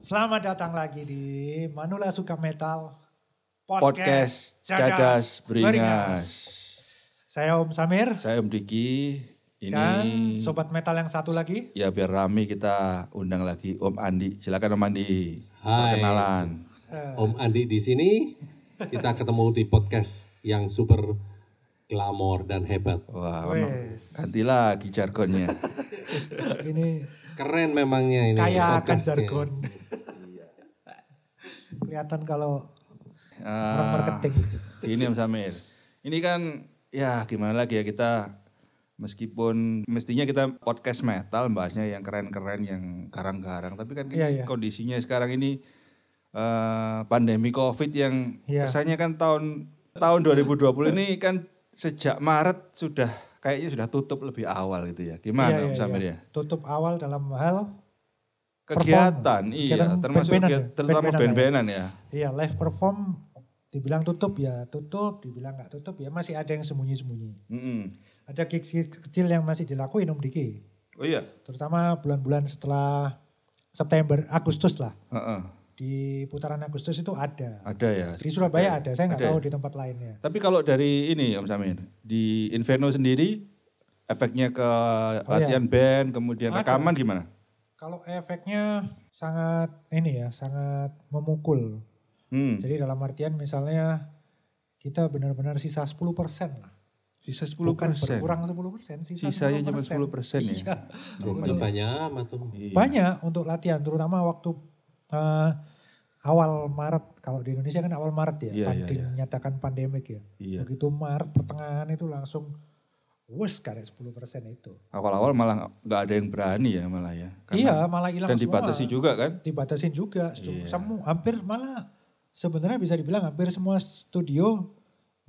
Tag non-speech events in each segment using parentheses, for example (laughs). Selamat datang lagi di Manula Suka Metal podcast Cadas Beringas. Saya Om Samir Saya Om Diki. Ini dan sobat metal yang satu lagi. ya biar rame kita undang lagi Om Andi. Silakan Om Andi. Hai. Perkenalan. Om Andi di sini. Kita ketemu di podcast yang super glamor dan hebat. Wah, Wes, ganti lagi jargonnya. ini Keren memangnya ini kaya akan podcastnya. jargon. Kelihatan kalau orang Ah, marketing. Ini Om Samir. Ini kan ya gimana lagi ya kita meskipun mestinya kita podcast metal bahasnya yang keren-keren yang garang-garang tapi kan Iya, iya. kondisinya sekarang ini eh, pandemi Covid yang Iya. kesannya kan tahun tahun 2020 ini kan sejak Maret sudah kayaknya sudah tutup lebih awal gitu ya. Iya, Gimana Om iya, Samir iya. ya? Tutup awal dalam hal Perform. Kegiatan iya Kegiatan termasuk band-bandan kegiatan- ya? terutama Band-bandan ya? band-bandan ya. Iya live perform dibilang tutup ya tutup, dibilang nggak tutup ya masih ada yang sembunyi-sembunyi. Mm-mm. Ada gigs kecil yang masih dilakuin Om Diki. Oh iya. Terutama bulan-bulan setelah September, Agustus lah. Heeh. Di putaran Agustus itu ada. Ada ya. Di Surabaya ada, saya nggak Ada tahu ya? di tempat lainnya. Tapi kalau dari ini Om Samir, di Inferno sendiri efeknya ke latihan band, Oh, kemudian iya. Ada. rekaman gimana? Kalau efeknya sangat ini ya, sangat memukul. Hmm. Jadi dalam artian misalnya kita benar-benar sisa 10% lah. Sisa 10 Bukan persen. berkurang 10%, sisa Sisanya cuma 10 persen ya. Iya. Itu banyak amat tuh. Iya. Banyak untuk latihan, terutama waktu eh, awal Maret. Kalau di Indonesia kan awal Maret ya, Iya, iya, pandi- iya. menyatakan pandemik ya. Iya. Begitu Maret pertengahan itu langsung wes karek 10% itu. Awal-awal malah nggak ada yang berani ya malah ya. Karena- iya, malah hilang Dan semua. dibatasi juga kan? Dibatasin juga. Stu- Iya. Semua hampir malah sebenarnya bisa dibilang hampir semua studio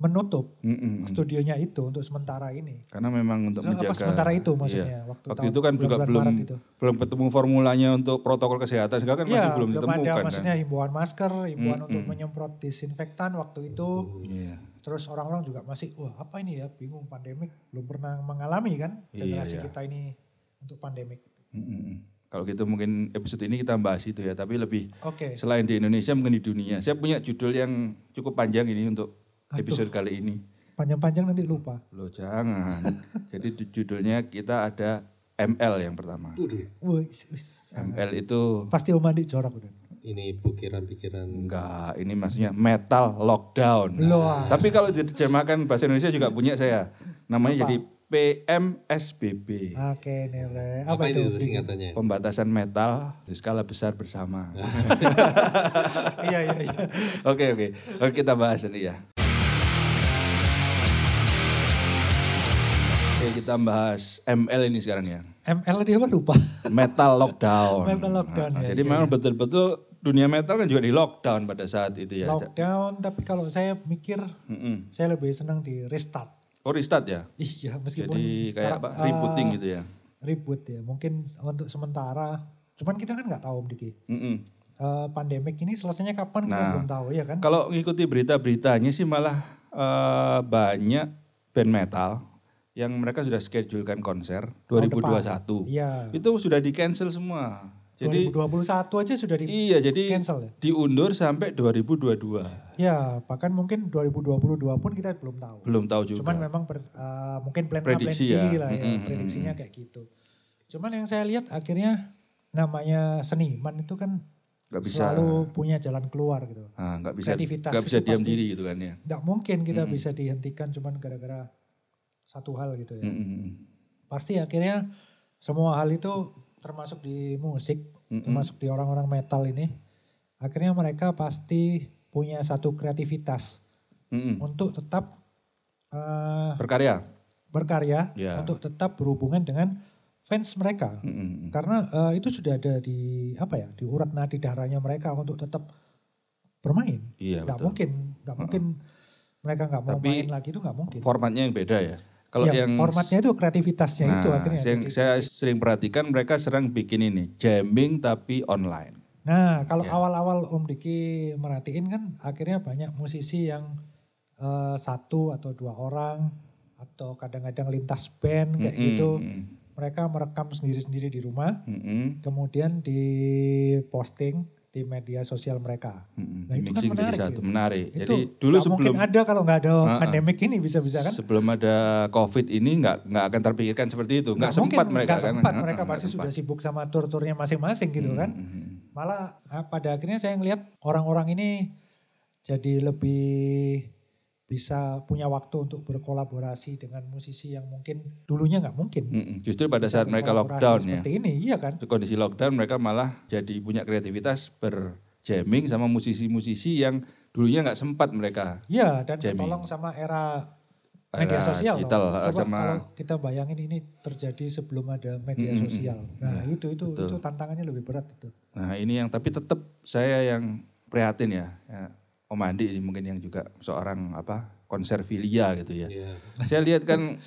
menutup Mm-mm. studionya itu untuk sementara ini. Hmm, Karena memang untuk Apa, menjaga. sementara itu maksudnya, Iya. waktu Waktu, tahun- itu kan juga bulan-bulan belum Maret itu. belum ketemu formulanya untuk protokol kesehatan segala kan masih Iya, belum, ditemukan ada kan. Hmm, maksudnya himbauan masker, himbauan Mm-mm. untuk menyemprot disinfektan waktu itu. Iya. Terus orang-orang juga masih wah apa ini ya bingung pandemik belum pernah mengalami kan Iya, generasi iya. kita ini untuk pandemik. Mm-mm. Kalau gitu mungkin episode ini kita bahas itu ya, tapi lebih Oke. Selain di Indonesia mungkin di dunia. Saya punya judul yang cukup panjang ini untuk episode kali ini. Panjang-panjang nanti lupa. Loh jangan. Jadi di judulnya kita ada ML yang pertama. Waduh, Wis, wis. ML itu Pasti Om Andi jorok udah. ini pikiran-pikiran enggak, ini maksudnya metal lockdown. Loh. Tapi kalau diterjemahkan bahasa Indonesia juga punya saya. Namanya jadi PMSBB. Oke, nilai. apa, Apa, ini itu? tuh singkatannya? Pembatasan metal di skala besar bersama. iya, iya, iya. Oke oke, oke kita bahas nanti ya. Oke kita bahas ML ini sekarang ya, ML dia apa lupa? metal lockdown. Metal lockdown, Nah, ya, Jadi iya, memang betul-betul dunia metal kan juga di lockdown pada saat itu ya. Lockdown, tapi kalau saya mikir, Mm-mm. saya lebih senang di restart. Oh restart ya, Iya, (laughs) meskipun jadi kayak apa? karak- Rebooting eh, gitu ya. Reboot ya, mungkin untuk sementara. Cuman kita kan nggak tahu Om Diki. Mm-mm. Eh, pandemik ini selesainya kapan kita Nah, belum tahu ya kan? Kalau ngikuti berita-beritanya sih malah eh, banyak band metal yang mereka sudah schedulekan konser Tahun depan. 2021. Iya. Itu sudah di cancel semua. Jadi 2021 aja sudah di Iya, jadi cancel ya. diundur sampai 2022. Ya, bahkan mungkin 2022 pun kita belum tahu. Belum tahu juga. Cuman memang per- eh, mungkin plan A, plan Prediksi B ya. lah ya, Mm-mm, prediksinya kayak gitu. Cuman yang saya lihat akhirnya namanya seniman itu kan Nggak bisa. selalu punya jalan keluar gitu. Ah, nggak bisa Kreativitas nggak bisa itu diam pasti. Iya. diri gitu kan ya. Nggak mungkin kita bisa dihentikan cuman gara-gara satu hal gitu ya. Mm, mm, mm. Pasti akhirnya semua hal itu termasuk di musik, Mm-mm. termasuk di orang-orang metal ini, akhirnya mereka pasti punya satu kreativitas Mm, mm. untuk tetap eh, Berkarya. berkarya Ya. untuk tetap berhubungan dengan fans mereka Mm, mm, mm. karena eh, itu sudah ada di apa ya di urat nadi darahnya mereka untuk tetap bermain Iya, nggak betul. mungkin nggak mungkin mereka nggak mau Tapi main lagi itu nggak mungkin Formatnya yang beda ya. Kalau Ya, yang formatnya itu kreativitasnya Nah, itu akhirnya saya, jadi- gitu. saya sering perhatikan mereka serang bikin ini, jamming tapi online. nah kalau Iya. awal-awal Om Diki merhatiin kan akhirnya banyak musisi yang eh, satu atau dua orang atau kadang-kadang lintas band kayak Mm, gitu mm, mereka merekam sendiri-sendiri di rumah mm, mm, mm. kemudian di posting di media sosial mereka. Mm-mm. Nah, itu kan Mixing jadi menarik, satu gitu. menarik. Itu Jadi dulu nggak sebelum mungkin ada kalau nggak ada Ah, ah. pandemik ini bisa-bisa kan? sebelum ada COVID ini nggak nggak akan terpikirkan seperti itu. Nggak mungkin, sempat nggak mereka kan. sempat Ah, ah, mereka nggak pasti sempat. Hmm, sudah sibuk sama tur-turnya masing-masing gitu kan. Mm-mm. Malah ah, pada akhirnya saya ngelihat orang-orang ini jadi lebih bisa punya waktu untuk berkolaborasi dengan musisi yang mungkin dulunya nggak mungkin. Mm-mm. Justru pada Bisa saat mereka berkolaborasi lockdown ya. Seperti ini, iya kan? kondisi lockdown mereka malah jadi punya kreativitas berjamming sama musisi-musisi yang dulunya nggak sempat mereka Iya, dan Jamming. tolong sama era Hmm, media Era sosial. loh. digital, eh, Coba sama- Hmm, kalau kita bayangin ini terjadi sebelum ada media Mm-mm. sosial. Nah, itu itu Iya, betul. itu tantangannya lebih berat itu. Nah ini yang tapi tetap saya yang prihatin ya, ya Om Andi ini mungkin yang juga seorang apa konservilia gitu ya. Iya. Saya lihat kan,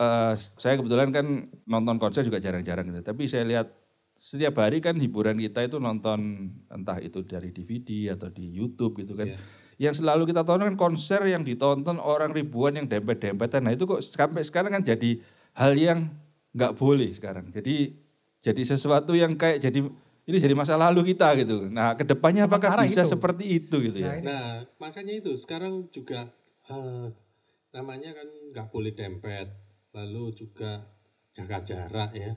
eh, saya kebetulan kan nonton konser juga jarang-jarang gitu. Tapi saya lihat setiap hari kan hiburan kita itu nonton entah itu dari DVD atau di YouTube gitu kan. Iya. Yang selalu kita tonton kan konser yang ditonton orang ribuan yang dempet-dempetan. Nah itu kok sampai sekarang kan jadi hal yang nggak boleh sekarang. Jadi jadi sesuatu yang kayak jadi ini jadi masa lalu kita gitu. Nah kedepannya apakah Sementara bisa itu. seperti itu gitu Nah, ya? ini- Nah, makanya itu sekarang juga eh, namanya kan nggak boleh dempet, lalu juga jaga jarak ya.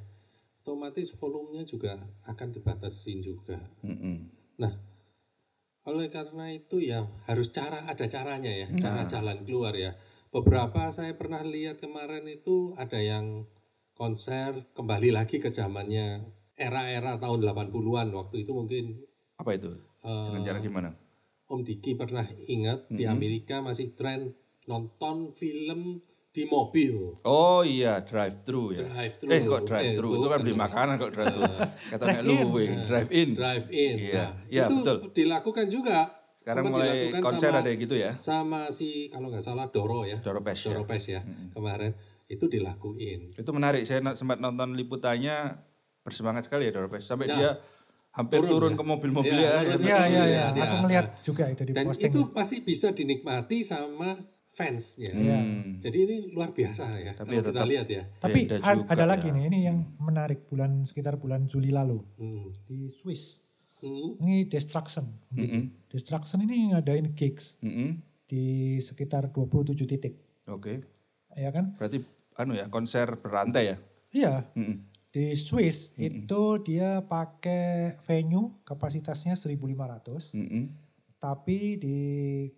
Otomatis volumenya juga akan dibatasin juga. Mm-mm. Nah, oleh karena itu ya harus cara ada caranya ya, cara Nah. jalan keluar ya. Beberapa saya pernah lihat kemarin itu ada yang konser kembali lagi ke zamannya era-era tahun 80-an waktu itu mungkin Apa itu? Dengan eh, cara gimana? Om Diki pernah ingat di Amerika masih tren nonton film di mobil. Oh iya, drive thru ya. Drive-thru. Eh kok drive thru? Eh, Nah, itu kan beli bukan. makanan kok drive (laughs) thru. Kata Nek Luwing, drive in. Drive in. Iya. Nah, Iya, itu betul. dilakukan juga. Sekarang Sempat mulai dilakukan konser sama- ada yang gitu ya. Sama si kalau nggak salah Doro ya. Doro Pesh ya. Doro Pesh ya. Kemarin itu dilakuin. Itu menarik. Saya no- sempat nonton liputannya bersemangat sekali ya Doropes. Sampai Ya. dia hampir turun, Turun, ya. ke mobil-mobil Iya, ya. iya, sampai- Iya, iya, Iya, iya. dia- Aku ngelihat juga itu di Dan posting. ya? itu pasti bisa dinikmati sama fansnya. Hmm. Jadi ini luar biasa ya. Tapi kalau ya kita tetap- lihat ya. Tapi Beda a- juga ada lagi ya. nih, ini yang menarik bulan sekitar bulan Juli lalu Hmm. di Swiss. Hmm. Ini Destruction. Mm-mm. Destruction ini ngadain gigs Mm-mm. di sekitar 27 titik, hmm. Oke. ya kan? Berarti anu ya, konser berantai ya. Hmm, Iya, Mm-mm. di Swiss Hmm, itu dia pakai venue kapasitasnya 1500 Mm-mm. tapi di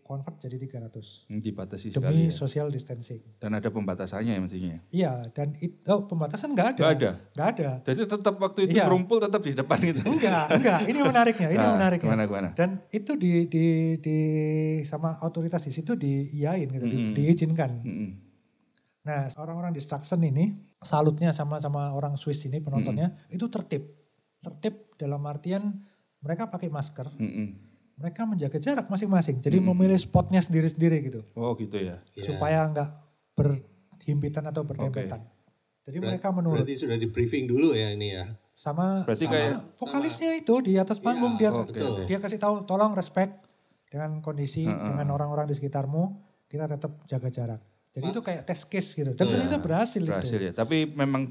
convert jadi 300 Ini Hmm, Dibatasi demi sekali ya. social distancing. Dan ada pembatasannya ya mestinya. Iya, dan itu oh, pembatasan nggak ada. Nggak ada. Nggak ada. Jadi tetap waktu itu Iya. kerumpul tetap di depan gitu. Enggak, enggak. Ini menariknya, ini ya. Nah, menariknya. gimana, gimana? Dan itu di di di sama autoritas di situ diiyain gitu, di- Mm-mm. diizinkan. Mm-mm. Nah, orang-orang distraction ini salutnya sama sama orang Swiss ini penontonnya itu tertib. Tertib dalam artian mereka pakai masker, Mm-mm. mereka menjaga jarak masing-masing. Jadi memilih spotnya sendiri-sendiri gitu. Oh gitu ya. Ya. Supaya nggak berhimpitan atau berdempetan. Jadi Ber- mereka menurut Berarti sudah di briefing dulu ya ini ya. Nah, sama Berarti sama kayak- vokalisnya itu di atas panggung Iya, dia oke, betul. dia kasih tahu tolong respect dengan kondisi dengan orang-orang di sekitarmu kita tetap jaga jarak jadi itu kayak test case gitu Iya. dan ternyata berhasil, Berhasil itu ya. Tapi memang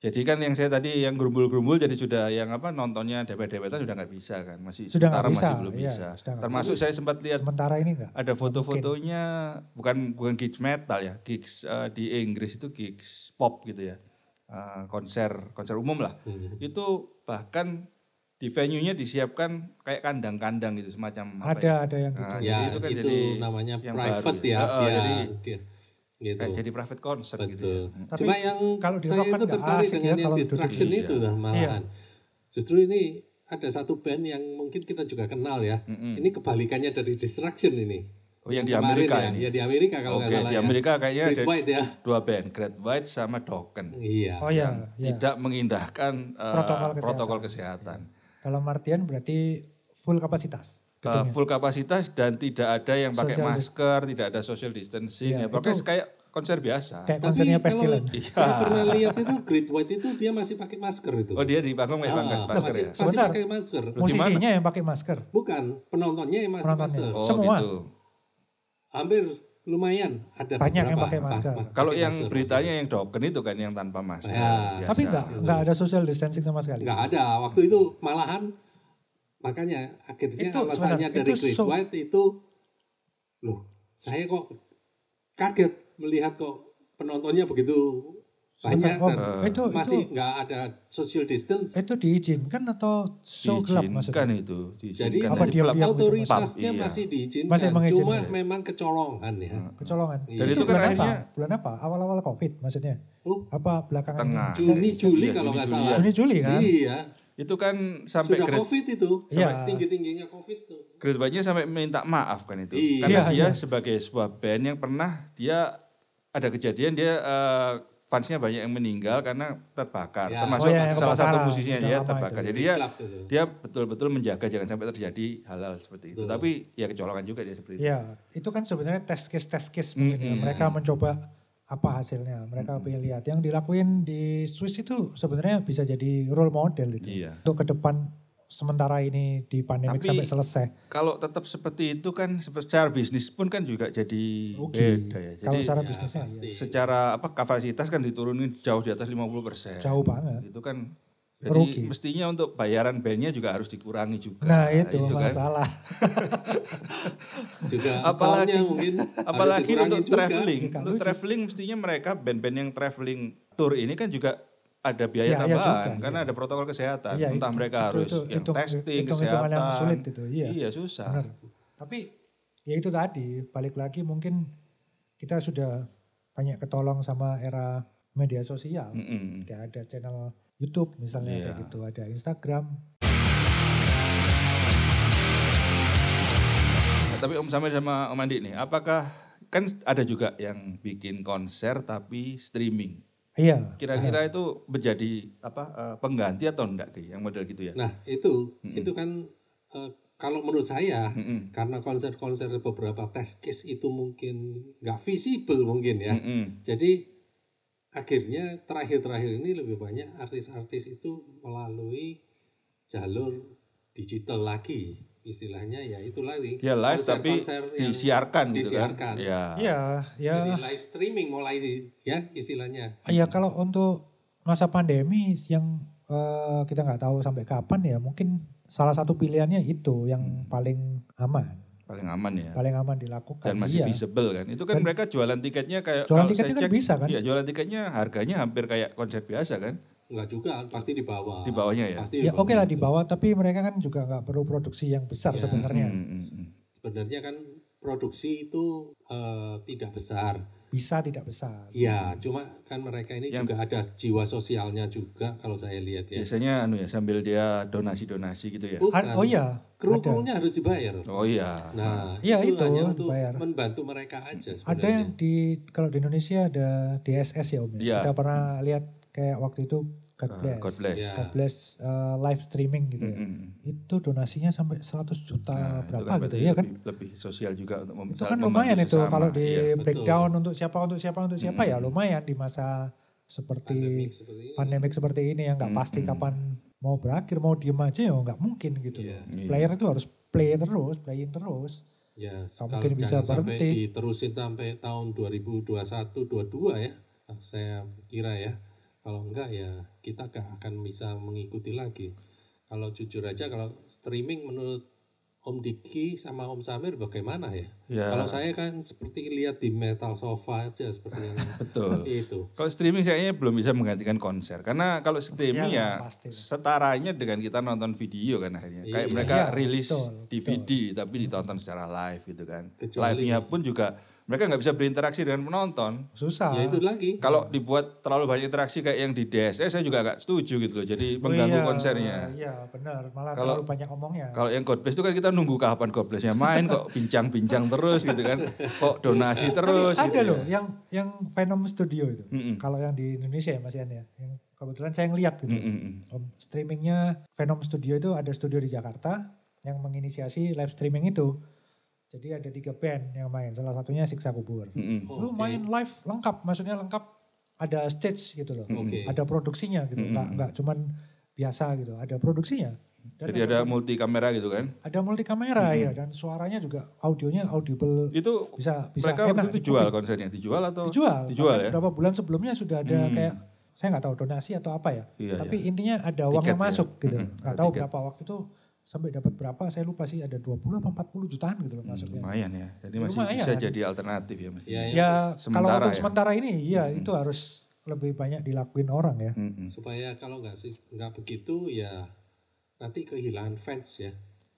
jadi kan yang saya tadi yang gerumbul-gerumbul jadi sudah yang apa nontonnya dempet-dempetan sudah nggak bisa kan masih Sudah nggak sementara bisa, masih belum iya, bisa. sudah nggak Termasuk saya sempat lihat sementara ini enggak ada foto-fotonya bukan bukan gigs metal ya gigs eh, di Inggris itu gigs pop gitu ya Eh, konser konser umum lah Hmm. itu bahkan di venue-nya disiapkan kayak kandang-kandang gitu semacam apa ada ya. ada yang gitu Nah, ya jadi itu, itu kan jadi namanya yang private baru ya. Eh, eh, ya, jadi dia- gitu. kayak jadi private concert gitu Betul. ya. Tapi Cuma yang kalau di saya rock kan itu nggak tertarik asik ya dengan yang kalau Iya. duduk distraction gitu. itu dah malahan. Justru ini ada satu band yang mungkin kita juga kenal ya. Ini kebalikannya dari distraction ini. Oh, yang di Kemarin Amerika ya. ini? Ya di Amerika kalau Oke, nggak salah. di ya. Amerika kayaknya Great ada White ya. dua band, Great White sama Dokken. Iya. oh ya, ya. Tidak mengindahkan eh, Protokol kesehatan. protokol kesehatan. dalam artian berarti full kapasitas Eh, full kapasitas dan tidak ada yang pakai Social masker, tidak ada social distancing. Iya, ya, pokoknya itu- kayak konser biasa. kayak Tapi konsernya kalau Pestilence saya pernah lihat itu Great White itu dia masih pakai masker itu. Iya. Oh dia di panggung pakai Ah, pangkat- masker masih, ya? masih Sebentar. pakai masker. musisinya yang pakai masker Bukan penontonnya yang pakai Penontonnya. masker. Oh Semua. gitu. Hampir lumayan ada Banyak yang beberapa pakai masker. pas- Kalau pakai yang masker. beritanya yang Dokken itu kan yang tanpa masker. Ya. biasa. Hmm. tapi enggak enggak ada social distancing sama sekali nggak ada waktu itu malahan Makanya akhirnya Itu, alasannya sebentar, dari itu Great so- White itu loh, saya kok kaget melihat kok penontonnya begitu banyak Sebentar, Om. dan itu masih nggak ada social distance. itu, itu diizinkan atau show gelap diizinkan maksudnya? itu Jadi diizinkan Apa aja. dia- diam-diam gitu, Mas? autoritasnya Pub, iya. masih diizinkan, Masih mengizinkan, cuma ya. memang kecolongan ya. Kecolongan. Iya. Dan itu kan bulan akhirnya- apa? Bulan apa? Awal-awal COVID maksudnya? Oh, Apa belakangan? Tengah. ini? Juni Juli Iya, kalau Juni, nggak Juli, salah. Juni Juli kan? Iya, itu kan sampai sudah grade covid itu, Iya. tinggi tingginya covid tuh. Grade White-nya sampai minta maaf kan itu. Iya. Karena Iya, dia iya. sebagai sebuah band yang pernah dia ada kejadian dia eh, fansnya banyak yang meninggal karena terbakar. Ya. Termasuk Oh, iya, yang salah satu kebakaran. musisinya Udah dia lama terbakar. itu. Jadi dia Club itu. dia betul-betul menjaga jangan sampai terjadi hal-hal seperti itu. Betul. Tapi ya kecolongan juga dia seperti itu. Iya, itu kan sebenarnya tes case tes case mungkin ya. Mm-mm. Mereka mencoba apa hasilnya, mereka pengen lihat. Yang dilakuin di Swiss itu sebenarnya bisa jadi role model itu. Iya. Untuk ke depan sementara ini di pandemi Tapi- sampai selesai. Kalau tetap seperti itu kan sepe- secara bisnis pun kan juga jadi Oke. beda ya. Kalau Jadi secara Ya, bisnisnya iya. pasti. secara apa kapasitas kan diturunin jauh di atas 50%. jauh banget. Itu kan jadi Merugi. mestinya untuk bayaran bandnya juga harus dikurangi juga. Nah itu, kan. masalah. juga Apalagi- soundnya mungkin harus Apalagi dikurangi untuk juga. traveling, Nggak untuk Iya, lucu. traveling mestinya mereka band-band yang traveling tour ini kan juga ada biaya Ya, iya juga, tambahan karena ada protokol kesehatan. Iya, Entah itu- mereka itu- harus itu- yang hitung- testing hitung-hitungan kesehatan. yang sulit itu, iya. susah. Benar. Tapi ya itu tadi balik lagi mungkin kita sudah banyak ketolong sama era media sosial. Mm-mm. Kayak ada channel YouTube misalnya Hmm. Iya. kayak gitu, ada Instagram. Nah, tapi Om Samir sama Om Andi nih, apakah kan ada juga yang bikin konser tapi streaming. Iya. Kira-kira itu menjadi apa eh, pengganti atau enggak Ki, yang model gitu ya? Nah itu itu kan eh, kalau menurut saya Mm-mm. karena konser-konser beberapa test case itu mungkin nggak visible mungkin ya. Mm-mm. Jadi akhirnya terakhir-terakhir ini lebih banyak artis-artis itu melalui jalur digital lagi istilahnya ya itu lagi Dia live tapi konser-konser yang disiarkan gitu disiarkan. kan? Ya. Iya, ya. Jadi live streaming mulai di- ya istilahnya. Ya kalau untuk masa pandemi yang eh, kita nggak tahu sampai kapan ya mungkin salah satu pilihannya itu yang paling aman, Paling aman ya. paling aman dilakukan. dan masih Iya. visible kan. Itu kan Dan- mereka jualan tiketnya kayak Jualan kalau tiketnya saya kan bisa kan? Iya, jualan tiketnya harganya hampir kayak konser biasa kan Enggak juga, pasti di bawah. di bawahnya ya. Pasti Ya oke lah di itu. bawah, tapi mereka kan juga nggak perlu produksi yang besar gitu. Iya. sebenarnya. Mm, mm, mm. Sebenarnya kan produksi itu eh, tidak besar. Bisa tidak besar. Iya, cuma kan mereka ini Yang- juga ada jiwa sosialnya juga kalau saya lihat ya. Biasanya anu ya sambil dia donasi-donasi gitu ya. Bukan, Har- oh iya, ada. kru-krunya harus dibayar. Oh iya. Nah, Iya, itu, itu hanya untuk dibayar. membantu mereka Ada aja sebenarnya. yang di kalau di Indonesia ada DSS ya Om. Iya. ya. Kita pernah lihat kayak waktu itu God Ah, Bless. God bless. Iya. God Bless, eh, live streaming gitu Mm, ya. mm, mm. Itu donasinya sampai 100 juta Nah, itu berapa kan gitu berarti ya kan. lebih, lebih sosial juga untuk mem- Itu kan membantu lumayan itu sesama. kalau di Iya. breakdown untuk siapa untuk siapa untuk siapa Mm. ya lumayan di masa seperti Pandemik seperti ini. pandemik seperti ini yang nggak Mm, pasti mm. kapan mau berakhir mau diem aja ya nggak mungkin gitu. Iya. Iya. Player itu harus play terus, playing terus. Ya, Nggak kalau mungkin bisa jangan sampai berhenti. diterusin sampai tahun 2021-22 ya. Saya kira ya. Kalau enggak ya kita gak akan bisa mengikuti lagi. Kalau jujur aja kalau streaming menurut Om Diki sama Om Samir bagaimana ya? Ya, Kalau saya kan seperti lihat di metal sofa aja seperti (laughs) yang betul. itu. Kalau streaming kayaknya belum bisa menggantikan konser karena kalau streaming Ya, ya, pasti. setaranya dengan kita nonton video kan akhirnya. Kayak Iya. mereka Iya, rilis betul, Hmm. DVD tapi ditonton secara live gitu kan. Kecuali- gitu. Live-nya pun juga mereka nggak bisa berinteraksi dengan penonton. Susah. Ya itu lagi. Iya. Kalau dibuat terlalu banyak interaksi kayak yang di DSS saya juga nggak setuju gitu loh. Jadi Oh mengganggu iya, konsernya. Iya benar, malah Kalau- terlalu banyak omongnya. Kalau yang God Bless itu kan kita nunggu kapan God Bless-nya main kok bincang-bincang terus gitu kan. Kok donasi terus Tapi ada gitu. loh yang yang Venom Studio itu. Mm-mm. Kalau yang di Indonesia ya Mas Ian ya. Yang kebetulan saya ngeliat gitu. Mm, mm, mm. Om, Streamingnya Venom Studio itu ada studio di Jakarta yang menginisiasi live streaming itu. Jadi ada tiga band yang main. Salah satunya Siksa Kubur. Mm, mm. Oh, Lu oke. main live lengkap, maksudnya lengkap ada stage gitu loh. Oke. Ada produksinya gitu. Enggak enggak cuman biasa gitu. Ada produksinya. Dan Jadi ada multi kamera gitu kan. ada multi kamera ya dan suaranya juga audionya audible Mm-hmm. Itu bisa bisa mereka waktu enak itu jual konsernya dijual atau dijual dijual Bahkan ya berapa bulan sebelumnya sudah ada Hmm. kayak saya nggak tahu donasi atau apa ya Iya, tapi intinya ada uang Tiket yang ya. masuk gitu Mm-mm, nggak ada tahu tiket. berapa waktu itu sampai dapat berapa saya lupa sih ada 20 apa 40 jutaan gitu loh masuknya. lumayan ya. Jadi masih Lumayan bisa kan? jadi alternatif ya Mas. Ya, ya, Ya kalau Sementara untuk ya. sementara ini iya itu harus lebih banyak dilakuin orang ya. Mm-mm. supaya kalau nggak sih nggak begitu ya nanti kehilangan fans ya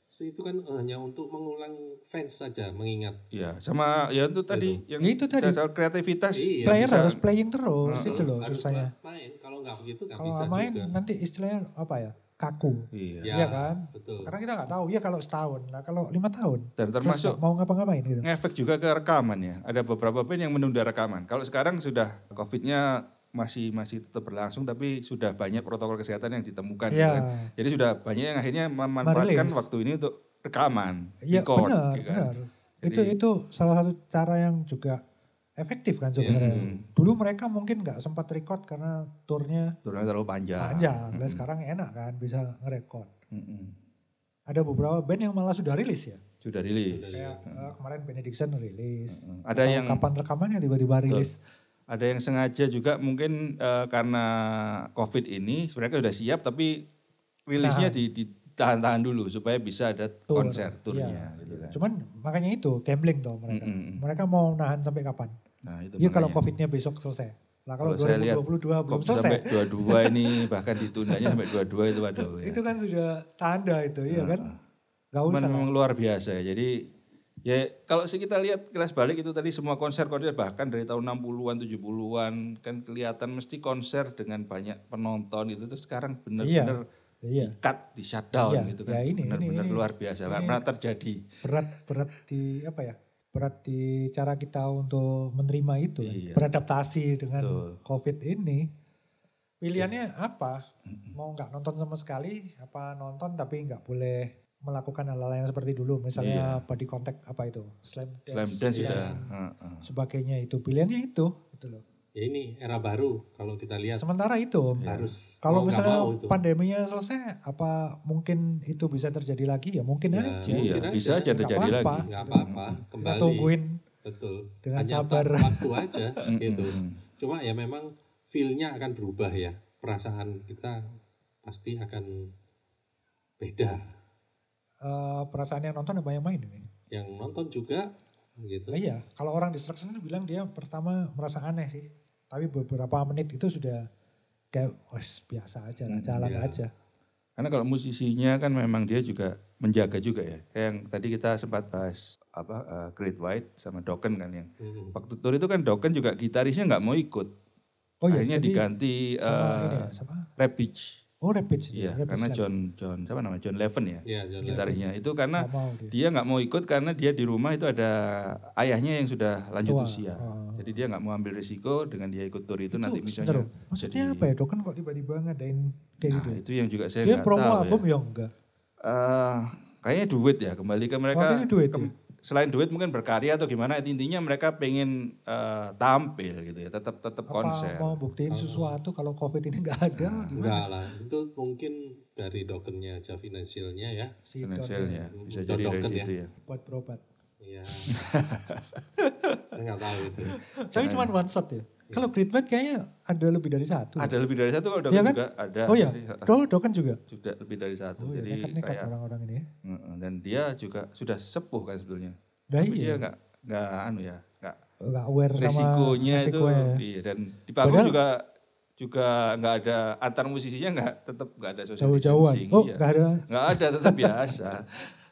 So, itu kan hanya untuk mengulang fans saja mengingat Iya, sama ya itu tadi yang Itu tadi. dasar kreativitas. Iya, Hmm, Player bisa- harus playing terus gitu loh eh, harus susahnya. ma- main kalau nggak begitu nggak Kalau bisa nggak main juga nanti istilahnya apa ya kaku. Iya. Ya. Iya kan? betul Karena kita nggak tahu ya kalau setahun, nah kalau lima tahun Dan terus termasuk nggak mau ngapa-ngapain gitu. ngefek juga ke rekaman ya. Ada beberapa band yang menunda rekaman. Kalau sekarang sudah COVID-nya masih masih tetap berlangsung tapi sudah banyak protokol kesehatan yang ditemukan gitu Iya. kan. Jadi sudah banyak yang akhirnya memanfaatkan Merilis. waktu ini untuk rekaman, Iya record benar, gitu kan. benar. Jadi- itu itu salah satu cara yang juga efektif kan sebenarnya. Hmm. Dulu mereka mungkin nggak sempat record karena turnya Turunnya terlalu panjang. panjang. Hmm. Nah, sekarang enak kan bisa ngerekord. Mm-mm. Ada beberapa band yang malah sudah rilis ya. Sudah rilis. Kayak eh, kemarin Benediction rilis. Mm. Iya. Ada Atau yang kapan rekamannya tiba-tiba rilis. ada yang sengaja juga mungkin eh, karena COVID ini mereka sudah siap tapi Nah. rilisnya di- ditahan-tahan dulu supaya bisa ada Tour. konser turnya Iya. gitu kan. Cuman makanya itu gambling tuh mereka. Mm-mm. Mereka mau nahan sampai kapan? Nah, itu Iya kalau makanya. COVID-nya besok selesai. Lah kalau, Kalau saya lihat 2022 belum Kok selesai. sampai dua-dua ini bahkan ditundanya sampai dua-dua itu waduh ya. Itu kan sudah tanda itu, iya kan? Gak Cuman usah. lah. memang luar biasa ya. Jadi ya kalau sih kita lihat kelas balik itu tadi semua konser-konser bahkan dari tahun 60-an, 70-an kan kelihatan mesti konser dengan banyak penonton itu tuh sekarang benar-benar Iya. di cut, di shutdown Iya, gitu ya kan. ini, benar-benar ini, ini. luar biasa. Nggak Ini- pernah terjadi. Berat berat di apa ya? Berat di cara kita untuk menerima itu, kan. Iya. beradaptasi dengan Betul. Iya. COVID ini. Pilihannya apa? Mau nggak nonton sama sekali? Apa nonton tapi nggak boleh melakukan hal-hal yang seperti dulu, misalnya body contact apa itu, slam dance, iya. Iya. Slam dance dan sudah. Heeh. sebagainya itu pilihannya itu, gitu loh. ya ini era baru kalau kita lihat Sementara itu, Ya. harus Kalau mau nggak misalnya mau itu. pandeminya selesai, apa mungkin itu bisa terjadi lagi? Ya mungkin Ya, aja. Iya, mungkin bisa aja. aja terjadi Nggak apa-apa. lagi. nggak apa-apa Kita kembali tungguin. betul dengan hanya sabar. tak waktu aja gitu cuma ya memang feel-nya akan berubah ya perasaan kita pasti akan beda eh, perasaan yang nonton apa yang main ini? yang nonton juga gitu Nah, iya, kalau orang distraction itu bilang dia pertama merasa aneh sih. Tapi beberapa menit itu sudah kayak "Wes, biasa aja Hmm, lah, jalan iya. aja. Karena kalau musisinya kan memang dia juga menjaga juga ya. Kayak yang tadi kita sempat bahas apa eh, Great White sama Dokken kan yang Mm-mm. waktu tur itu kan Dokken juga gitarisnya nggak mau ikut. Oh iya, Akhirnya jadi diganti sama ini eh ya, sama Rap Beach. Oh, Rapids. Iya, karena John John siapa namanya John Levin ya ya John Lennon. gitarisnya. Itu karena mau dia. dia nggak mau ikut karena dia di rumah itu ada ayahnya yang sudah Tua. lanjut usia. Oh. Jadi dia nggak mau ambil risiko dengan dia ikut tur itu, nanti sebentar, misalnya. loh. Maksudnya apa ya? Doken kok tiba-tiba ngadain kayak Nah, gitu. itu yang juga saya Dia nggak promo tahu album ya. ya enggak? Eh, kayaknya duit ya kembali ke mereka. Makanya duit kem- ya? Selain duit mungkin berkarya atau gimana intinya mereka pengen eh, tampil gitu ya, tetap tetap konser. Hmm. Apa mau buktiin sesuatu kalau covid ini nggak ada gimana enggak lah itu mungkin dari dokennya aja finansialnya ya sih Finansialnya bisa jadi Don dari Dokken ya. situ ya. buat berobat (laughs) ya nggak tahu itu Iya. tapi cuma one shot ya kalau Great White kayaknya ada lebih dari satu Ada lebih dari satu kalau udah Iya kan? juga ada. oh ya Jadi, do do kan juga sudah lebih dari satu. oh jadi ya nekat-nekat kayak orang-orang ini ya Heeh, dan dia juga sudah sepuh kan sebetulnya. Dah Tapi iya dia nggak nggak anu ya, nggak nggak aware resikonya sama itu resikonya. iya dan di panggung Padahal- juga juga nggak ada antar musisinya nggak tetap nggak ada social jauh-jauhan distancing, oh iya. nggak ada nggak ada tetap biasa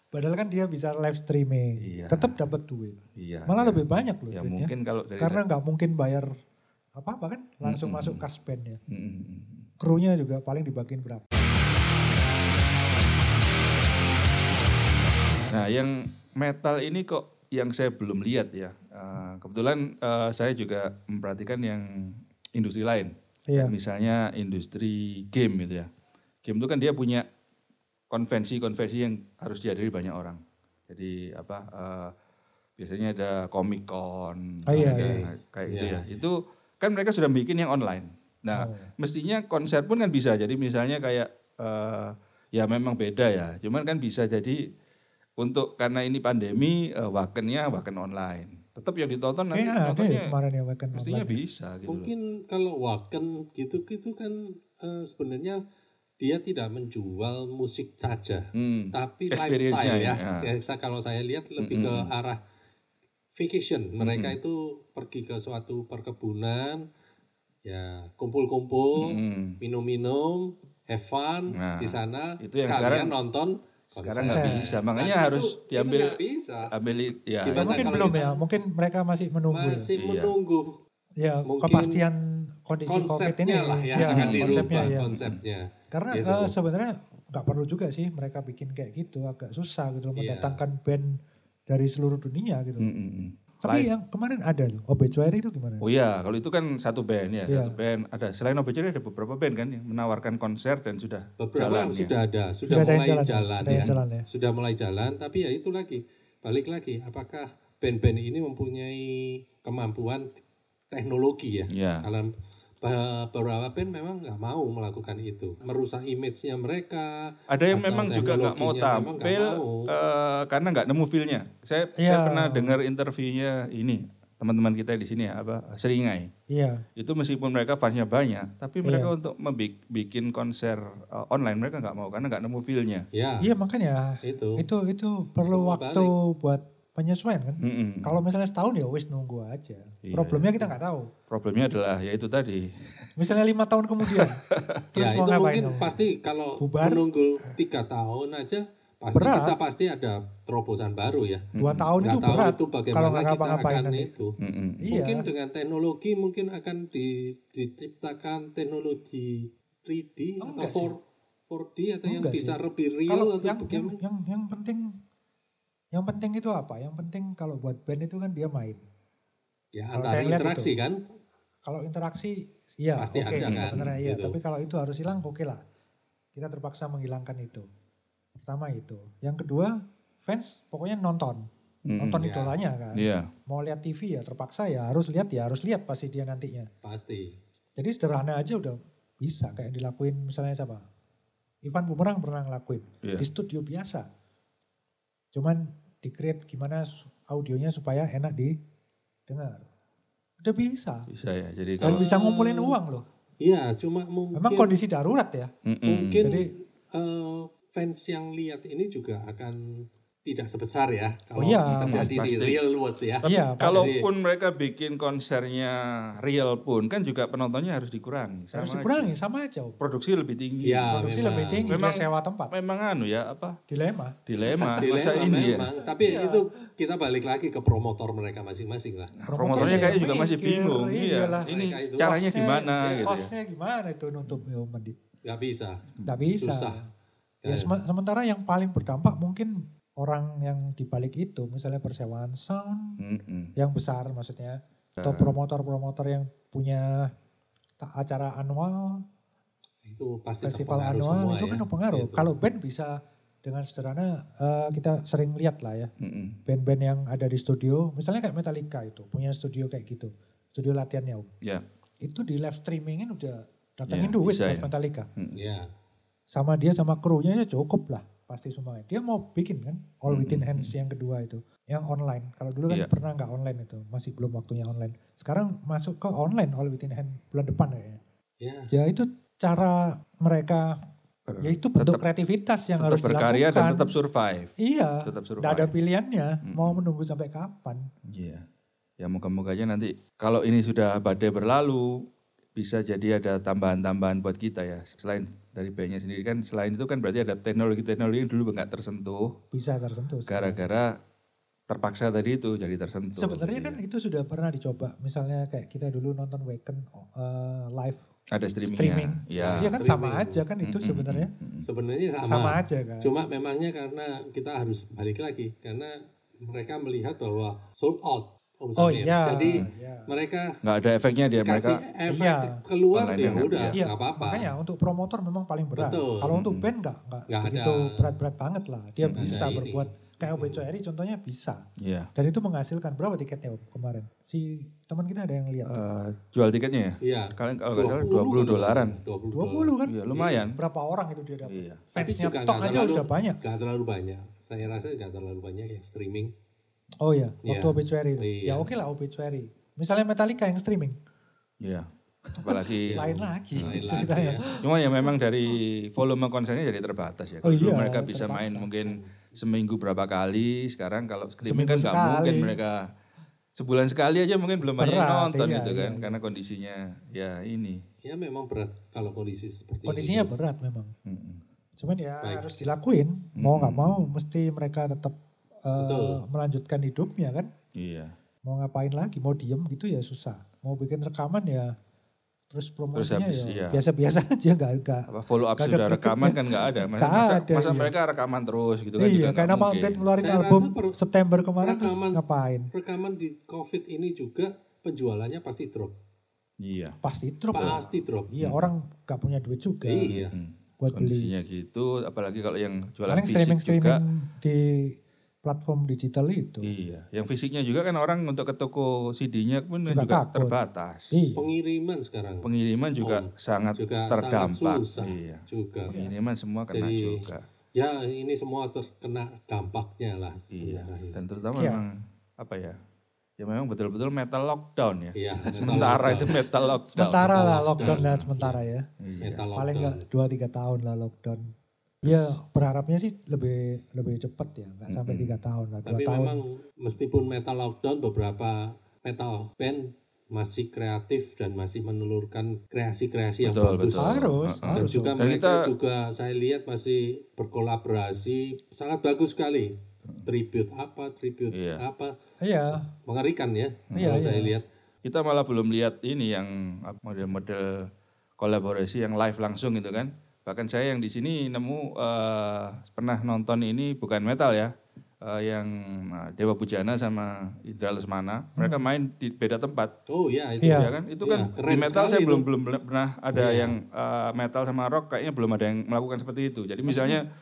padahal kan dia bisa live streaming Iya. tetap dapat duit iya (laughs) malah iya. lebih banyak loh ya duitnya. mungkin kalau dari karena nggak mungkin bayar apa apa kan langsung masuk kas band ya Mm-mm. krunya juga paling dibagiin berapa nah yang metal ini kok yang saya belum lihat ya Eh, kebetulan eh, saya juga memperhatikan yang industri lain Iya. misalnya industri game gitu ya. Game itu kan dia punya konvensi-konvensi yang harus dihadiri banyak orang. Jadi apa eh, biasanya ada Comic Con, Oh, iya, ada iya. kayak Iya. gitu ya. Itu kan mereka sudah bikin yang online. Nah, mestinya konser pun kan bisa. Jadi misalnya kayak eh, ya memang beda ya. Cuman kan bisa jadi untuk karena ini pandemi eh, wakennya waken online. Tetap yang ditonton nanti Kayaknya ada ya nontonnya kemarin ya Wacken mestinya online. bisa gitu. loh. mungkin kalau waken gitu gitu kan eh, sebenarnya dia tidak menjual musik saja, Hmm. tapi Experience-nya lifestyle ya. ya. Ya, sa- kalau saya lihat lebih ke arah vacation. Mereka itu pergi ke suatu perkebunan, ya kumpul-kumpul, Hmm. minum-minum, have fun Nah, di sana. itu yang sekalian sekarang- nonton. Sekarang konser. nggak Konser. bisa, Dan makanya itu- harus itu diambil, nggak bisa. ambil ya. Ya, Gimana mungkin kalau belum kita- ya, mungkin mereka masih menunggu. ya. Masih Iya. menunggu Ya, mungkin kepastian kondisi COVID ini. Iya, konsepnya lah ya, akan dirubah konsepnya. Karena Iya, Gitu. eh, sebenarnya nggak perlu juga sih mereka bikin kayak gitu, agak susah gitu Iya. mendatangkan band dari seluruh dunia gitu. Hmm, hmm, hmm. Tapi Live. yang kemarin ada loh, Obituary itu gimana? Oh iya, kalau itu kan satu band ya, Iya. satu band. Ada selain Obituary ada beberapa band kan yang menawarkan konser dan sudah Beberapa jalan ya. sudah ada, sudah, ada yang mulai jalan, ada ya. yang jalan ya. Sudah mulai jalan, tapi ya itu lagi. Balik lagi, apakah band-band ini mempunyai kemampuan teknologi ya? Iya. Karena beberapa band memang nggak mau melakukan itu. Merusak image-nya mereka. Ada yang atau memang juga nggak mau teknologinya memang nggak tampil mau. eh, karena nggak nemu feel-nya. Saya saya Iya. pernah dengar interviewnya ini teman-teman kita di sini ya, apa Seringai. Iya, Itu meskipun mereka fansnya banyak, tapi mereka untuk membi- bikin konser eh, online mereka nggak mau karena nggak nemu feel-nya. Ya, iya makanya itu. itu itu perlu Semua Hmm. waktu buat penyesuaian kan. Mm-mm. Kalau misalnya setahun ya wis nunggu aja. Iya, Problemnya kita nggak tahu. Problemnya adalah ya itu tadi. Misalnya lima tahun (laughs) kemudian, terus ya mau itu ngapain? mungkin kamu? pasti kalau Bubar? menunggu tiga tahun aja pasti Berat. kita pasti ada terobosan baru ya. Dua tahun Nggak itu tahu berat. itu kalau bagaimana nggak kita ngapa-ngapain akan nanti. itu. Mm-mm. Iya. Mungkin dengan teknologi mungkin akan di- diciptakan teknologi 3D Oh, atau enggak Oh, 4, 4D atau yang Enggak bisa sih. lebih real Kalau yang, atau yang bagaimana. yang yang penting yang penting itu apa? Yang penting kalau buat band itu kan dia main. Ya kalau antara saya lihat interaksi kan. Kalau interaksi ya Pasti oke ada kan, sebenarnya iya. gitu. Tapi kalau itu harus hilang oke lah. Kita terpaksa menghilangkan itu. Pertama itu. Yang kedua fans pokoknya nonton. Mm-mm. Nonton Iya. idolanya kan. Iya. Mau lihat TV ya terpaksa ya harus lihat ya harus lihat pasti dia nantinya. Pasti. Jadi sederhana aja udah bisa kayak yang dilakuin misalnya siapa? Ivan Bumerang pernah ngelakuin Iya. di studio biasa. Cuman di create gimana su- audionya supaya enak didengar. Udah bisa. Bisa ya. Jadi Dan kalau bisa ngumpulin Oh. uang loh. Iya cuma mungkin. Memang kondisi darurat ya. Mm-mm. mungkin Jadi- eh, fans yang lihat ini juga akan tidak sebesar ya kalau iya. terjadi di Pasti. real world ya. Tapi Iya, pasti. kalaupun mereka bikin konsernya real pun kan juga penontonnya harus dikurangi. Harus Sama dikurangi sama aja. aja. Produksi lebih tinggi. Ya Produksi memang. lebih tinggi, Memang- dia sewa tempat. Memang anu ya apa Dilema. dilema, (laughs) Dilema masa ini ya. memang. Tapi Iya. itu kita balik lagi ke promotor mereka masing-masing lah. Promotornya kayaknya juga masih mikir, bingung. iyalah. Iya. Ini Mereka itu caranya Costnya- gimana gitu ya. Costnya gimana itu nutup ya, mending. Nggak bisa. Nggak Hmm. bisa. Susah. Ya, Ya. seme- sementara yang paling berdampak mungkin orang yang dibalik itu, misalnya persewaan sound Mm-mm. yang besar maksudnya, atau promotor-promotor yang punya ta- acara anual, Itu pasti festival terpengaruh anual semua itu ya. kan pengaruh. Gitu. Kalau band bisa dengan sederhana eh, kita sering lihat lah ya, Mm-mm. band-band yang ada di studio, misalnya kayak Metallica itu punya studio kayak gitu, studio latihannya Om. Ya. itu di live streamingin udah datangin Iya, duit bisa buat ya. Metallica. Ya. sama dia sama krunya ya cukup lah pasti semuanya dia mau bikin kan all Hmm, within hmm, hands yang kedua itu yang online kalau dulu kan Iya. pernah nggak online itu masih belum waktunya online sekarang masuk ke online all within hand bulan depan kayaknya Ya. ya itu cara mereka ya itu bentuk kreativitas yang tetap harus berkarya dilakukan dan tetap survive. iya tetap survive. nggak ada pilihannya Hmm. mau menunggu sampai kapan Iya. Ya moga-moga aja nanti kalau ini sudah badai berlalu bisa jadi ada tambahan-tambahan buat kita ya. Selain dari bandnya sendiri kan selain itu kan berarti ada teknologi-teknologi yang dulu nggak tersentuh bisa tersentuh gara-gara terpaksa tadi itu jadi tersentuh. sebenarnya Jadi kan itu sudah pernah dicoba misalnya kayak kita dulu nonton Waken eh, live ada streamingnya. streaming Ya. Iya kan sama aja kan itu Mm-mm, sebenarnya mm-mm. Sebenarnya sama. sama aja kan Cuma memangnya karena kita harus balik lagi karena mereka melihat bahwa sold out. Om Oh Samir. iya. Jadi Iya. mereka Nggak ada efeknya dia Ya, mereka. kan? kasih efek Iya. keluar Online ya yang- udah Iya, nggak apa-apa. Makanya untuk promotor memang paling berat. Betul. Kalau untuk band nggak nggak Nggak begitu ada. berat-berat banget lah. Dia Nggak bisa ada ini. berbuat kayak OBCRI contohnya bisa. Iya. Dan itu menghasilkan berapa tiketnya Om, kemarin? Si teman kita ada yang lihat. Eh, jual tiketnya ya. Iya. Kalian kalau nggak salah 20 20 dolaran. 20 dolar. 20 kan? Iya lumayan. Berapa orang itu dia dapat? Iya. Tapi Fansnya juga tok nggak aja terlalu- udah banyak. Gak terlalu banyak. Saya rasa gak terlalu banyak yang streaming. Oh iya, waktu Iya. obituary itu. Ya Iya. oke lah obituary. Misalnya Metallica yang streaming. Iya. apalagi (laughs) lain lagi. gitu kan. Lain Itu lagi kita ya. Cuma ya memang dari volume konsernya jadi terbatas ya. Oh Kalau dulu iya, mereka bisa terpaksa. main mungkin seminggu berapa kali, sekarang kalau streaming kan Seminggu nggak mungkin sekali. mereka sebulan sekali aja mungkin belum banyak yang Berat, nonton iya, gitu iya, kan iya. karena kondisinya ya ini. Ya memang berat kalau kondisi seperti Kondisinya ini. Gus. berat memang. Mm-mm. Cuman ya Baik. harus dilakuin. Mau nggak Mm. mau mesti mereka tetap eh, Betul. melanjutkan hidupnya kan. Iya. Mau ngapain lagi? Mau diem gitu ya susah. Mau bikin rekaman ya terus promosinya habis, ya iya. biasa-biasa (laughs) aja nggak nggak. Apa follow up Nggak ada sudah berikutnya. rekaman kan nggak ada. Masa, Nggak masa, ada, masa iya. mereka rekaman terus gitu kan juga Iya, nggak karena Pak mungkin. Ubed ngeluarin Saya rasa album per- September kemarin terus rekaman- ngapain? Rekaman di COVID ini juga penjualannya pasti drop. Iya. Pasti drop. ya. Pasti drop. Iya, Hmm. orang nggak punya duit juga Iya. buat beli. Kondisinya gitu, apalagi kalau yang jualan Paling fisik streaming juga. streaming di platform digital itu. Iya, yang fisiknya juga kan orang untuk ke toko CD-nya pun Juga juga, takut. terbatas. Iya. Pengiriman sekarang Oh, Pengiriman juga sangat juga terdampak. sangat susah Iya. juga. Pengiriman semua kena Jadi- juga. Ya ini semua terkena dampaknya lah. Iya. sebenarnya. Dan terutama Iya. memang apa ya? Ya memang betul-betul metal lockdown ya. Iya. metal (laughs) Sementara lockdown. itu metal lockdown. Sementara lah Lockdown. lockdown lah sementara ya. Iya. Metal Paling lockdown. nggak dua tiga tahun lah lockdown. Ya berharapnya sih lebih lebih cepat ya, nggak sampai Mm-mm. tiga tahun lah, dua Tapi tahun. memang meskipun metal lockdown beberapa metal band masih kreatif dan masih menelurkan kreasi-kreasi yang Betul, bagus. betul. harus, Heeh. eh, Dan harus. juga dong. Dan mereka kita- juga saya lihat masih berkolaborasi sangat bagus sekali. Tribute apa, tribute Iya. apa, Iya, mengerikan ya Iya, kalau iya. saya lihat. Kita malah belum lihat ini yang apa, model-model kolaborasi yang live langsung gitu kan. Bahkan saya yang di sini nemu eh, pernah nonton ini bukan metal ya. eh, yang eh, Dewa Pujana sama Indra Lesmana, mereka main di beda tempat. Oh ya itu Iya. ya kan itu Iya, kan keren di metal sekali saya itu. belum belum pernah ada yang uh, metal sama rock kayaknya belum ada yang melakukan seperti itu jadi misalnya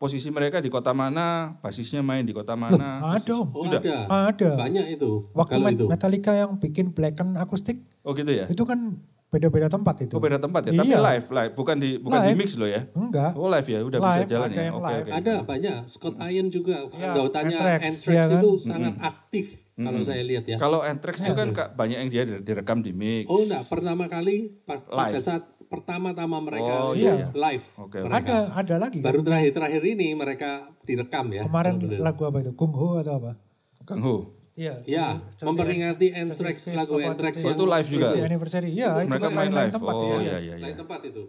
posisi mereka di kota mana basisnya main di kota mana ada om, Oh Sudah. ada. ada. Banyak itu. Waktu kalau Met- itu. Metallica yang bikin Blacken akustik oh gitu ya itu kan beda-beda tempat itu. oh beda tempat ya tapi Iya. live live bukan di bukan di Live. mix loh ya Enggak. oh live ya udah bisa Live, jalan ada ya yang oke live. oke Ada banyak. Scott Ian juga Iya, anggotanya Anthrax, Anthrax iya kan? itu sangat aktif kalau saya lihat ya. kalau Anthrax itu kan Kak, banyak yang dia direkam di mix Oh enggak, pertama kali pa- pada Live. saat pertama-tama mereka Oh, itu iya. live. Oke, oke. mereka. Ada, ada lagi. kan? kan? Baru terakhir-terakhir ini mereka direkam ya. Kemarin Betul. lagu apa itu? Kung Ho atau apa? Kang Ho Iya. Ya, Jadi- memperingati Anthrax Jadi- lagu apa- Anthrax Oh, yang itu live juga? Itu anniversary. Iya, itu mereka kan main lain-lain live tempat. oh Iya. iya iya iya Lain tempat itu.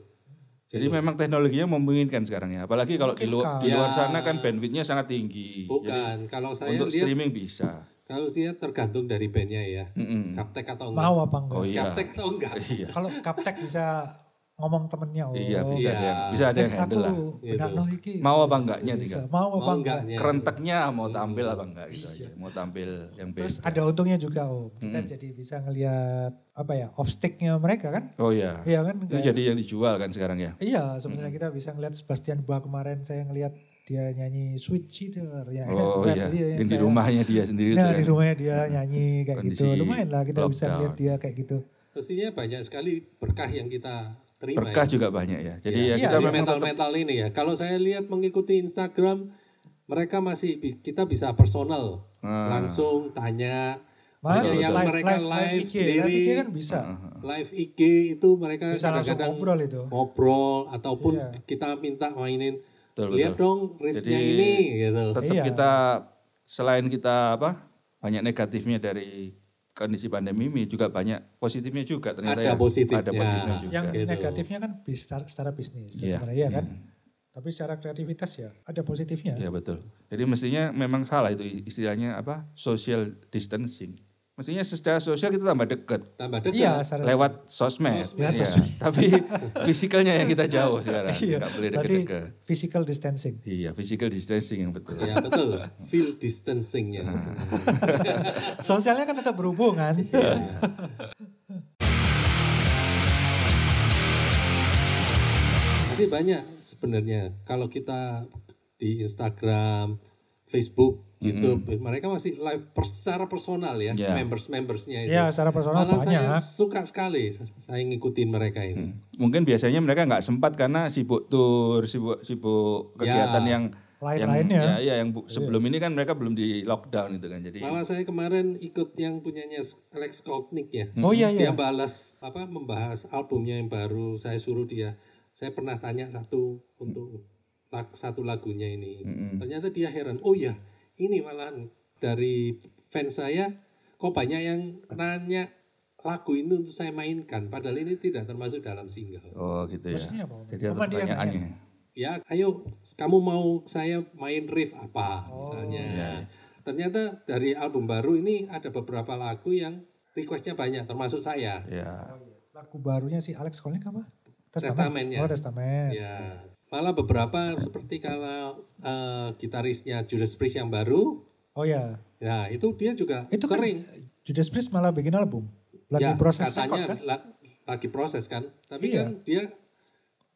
jadi memang teknologinya memungkinkan sekarang ya apalagi kalau di, lu- di Memungkinkan. luar Ya. sana kan bandwidthnya sangat tinggi Jadi Bukan, kalau saya untuk lihat streaming bisa kalau saya tergantung dari bandnya ya. Mm-mm. Kaptek atau enggak? Mau apa enggak? Oh, iya. Kaptek atau (laughs) enggak? Iya. Kalau kaptek bisa ngomong temennya. Oh, Iya bisa Iya. ada yang bisa ada yang Eh, handle lah. aku benak Gitu. loh iki. Mau apa enggaknya Bisa. tinggal. Mau apa Mau enggak? enggaknya? Kerenteknya mau tampil apa enggak gitu aja. Mau tampil yang Oh. Iya. Terus beda. ada untungnya juga om. Kita jadi bisa ngelihat apa ya off sticknya mereka kan? Oh iya. Iya kan? Itu Kayak- jadi yang dijual kan sekarang ya. Iya sebenarnya kita bisa ngelihat Sebastian Bach kemarin saya ngelihat dia nyanyi switch itu ya. Oh keren. iya. yang Yang di saya- rumahnya dia sendiri Nah, tuh di kan. rumahnya dia nyanyi kayak Kondisi gitu. Lumayan lah kita bisa lockdown. lihat dia kayak gitu. Pastinya banyak sekali berkah yang kita terima. Berkah ya. juga banyak ya. Jadi ya, Iya, kita di Dari memang tetap- metal-metal ini ya. Kalau saya lihat mengikuti Instagram, mereka masih bi- kita bisa personal, Ah. langsung tanya. Mas, Banyak yang mereka live, IG, sendiri, IG kan bisa. live IG itu mereka Bisa langsung kadang-kadang ngobrol itu. ngobrol ataupun Iya. kita minta mainin. Betul, betul. lihat dong riffnya Jadi- ini gitu. tetap Iya. kita selain kita apa? Banyak negatifnya dari kondisi pandemi ini juga banyak positifnya juga ternyata Ada ya. positifnya. Ada positifnya juga. Yang Gitu. negatifnya kan bis- secara, secara bisnis Iya, sebenarnya ya kan. Tapi secara kreativitas ya ada positifnya. Ya betul. Jadi mestinya memang salah itu istilahnya apa? Social distancing. Mestinya secara sosial kita tambah dekat Tambah dekat. Iya, secara lewat sosmed. Sosmed. Iya. Tapi fisikalnya yang kita jauh sekarang. (laughs) Iya, Nggak boleh berarti dekat-dekat. physical distancing. Iya, physical distancing yang betul. Ya betul, feel distancingnya. Nah. Sosialnya kan tetap berhubungan. Iya. Masih banyak sebenarnya kalau kita di Instagram, Facebook, YouTube, mereka masih live per- secara personal ya, Ya. members-membersnya itu. ya secara personal Malah banyak. saya suka sekali, saya ngikutin mereka Mm. ini. Mungkin biasanya mereka nggak sempat karena sibuk tur, sibuk sibuk Ya. kegiatan yang ya, lain-lainnya. ya, yang bu- sebelum ini kan mereka belum di lockdown gitu kan. Jadi Malah saya kemarin ikut yang punyanya Alex Kotnik ya. Oh iya iya. Dia balas apa membahas albumnya yang baru. Saya suruh dia. Saya pernah tanya satu untuk lag- satu lagunya ini. Hmm. Ternyata dia heran. Oh ya, ini malahan dari fans saya kok banyak yang nanya lagu ini untuk saya mainkan. Padahal ini tidak termasuk dalam single. oh gitu ya. Maksudnya apa? kan Jadi ada Apa dia pertanyaannya. ya ayo kamu mau saya main riff apa Oh, misalnya iya. ternyata dari album baru ini ada beberapa lagu yang requestnya banyak termasuk saya Ya. Oh, iya. Lagu barunya si Alex Kolnik apa? Testament, ya. Oh Testament. ya malah beberapa seperti kalau eh, gitarisnya Judas Priest yang baru Oh ya. nah itu dia juga Itu kan sering Judas Priest malah bikin album. Lagi ya proses katanya record, kan? la- lagi proses kan tapi Iya. kan dia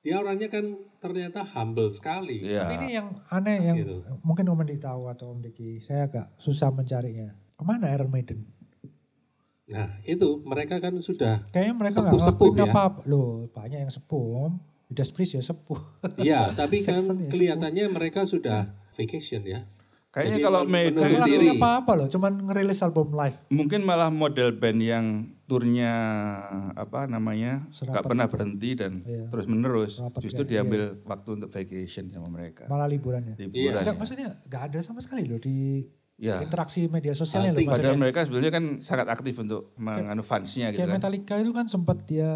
dia orangnya kan ternyata humble sekali Ya. Tapi ini yang aneh yang Gitu. mungkin Om Andi tahu atau Om Diki. Saya agak susah mencarinya. Kemana Iron Maiden? nah itu mereka kan sudah Kayaknya mereka nggak Sepuh-sepuh ngelakuin ya. apa apa. Loh banyak yang sepuh. Om. Judas Priest ya sepuh. (laughs) Iya, tapi kan Saxon ya, kelihatannya mereka sudah vacation ya. Kayaknya Jadi kalau men- Maiden Nggak menutup diri. ngelakuin apa-apa loh. Cuman ngerilis album live. mungkin malah model band yang turnya apa namanya Serapat. nggak pernah berhenti dan Iya. terus menerus Serapat, justru ya, diambil waktu untuk vacation sama mereka Malah liburannya. Iya. liburan Enggak, ya. maksudnya nggak ada sama sekali loh di Ya. interaksi media sosialnya loh Anting. maksudnya. padahal mereka sebenarnya kan sangat aktif untuk menganu fansnya Iya. gitu Kayak kan Metallica itu kan sempat dia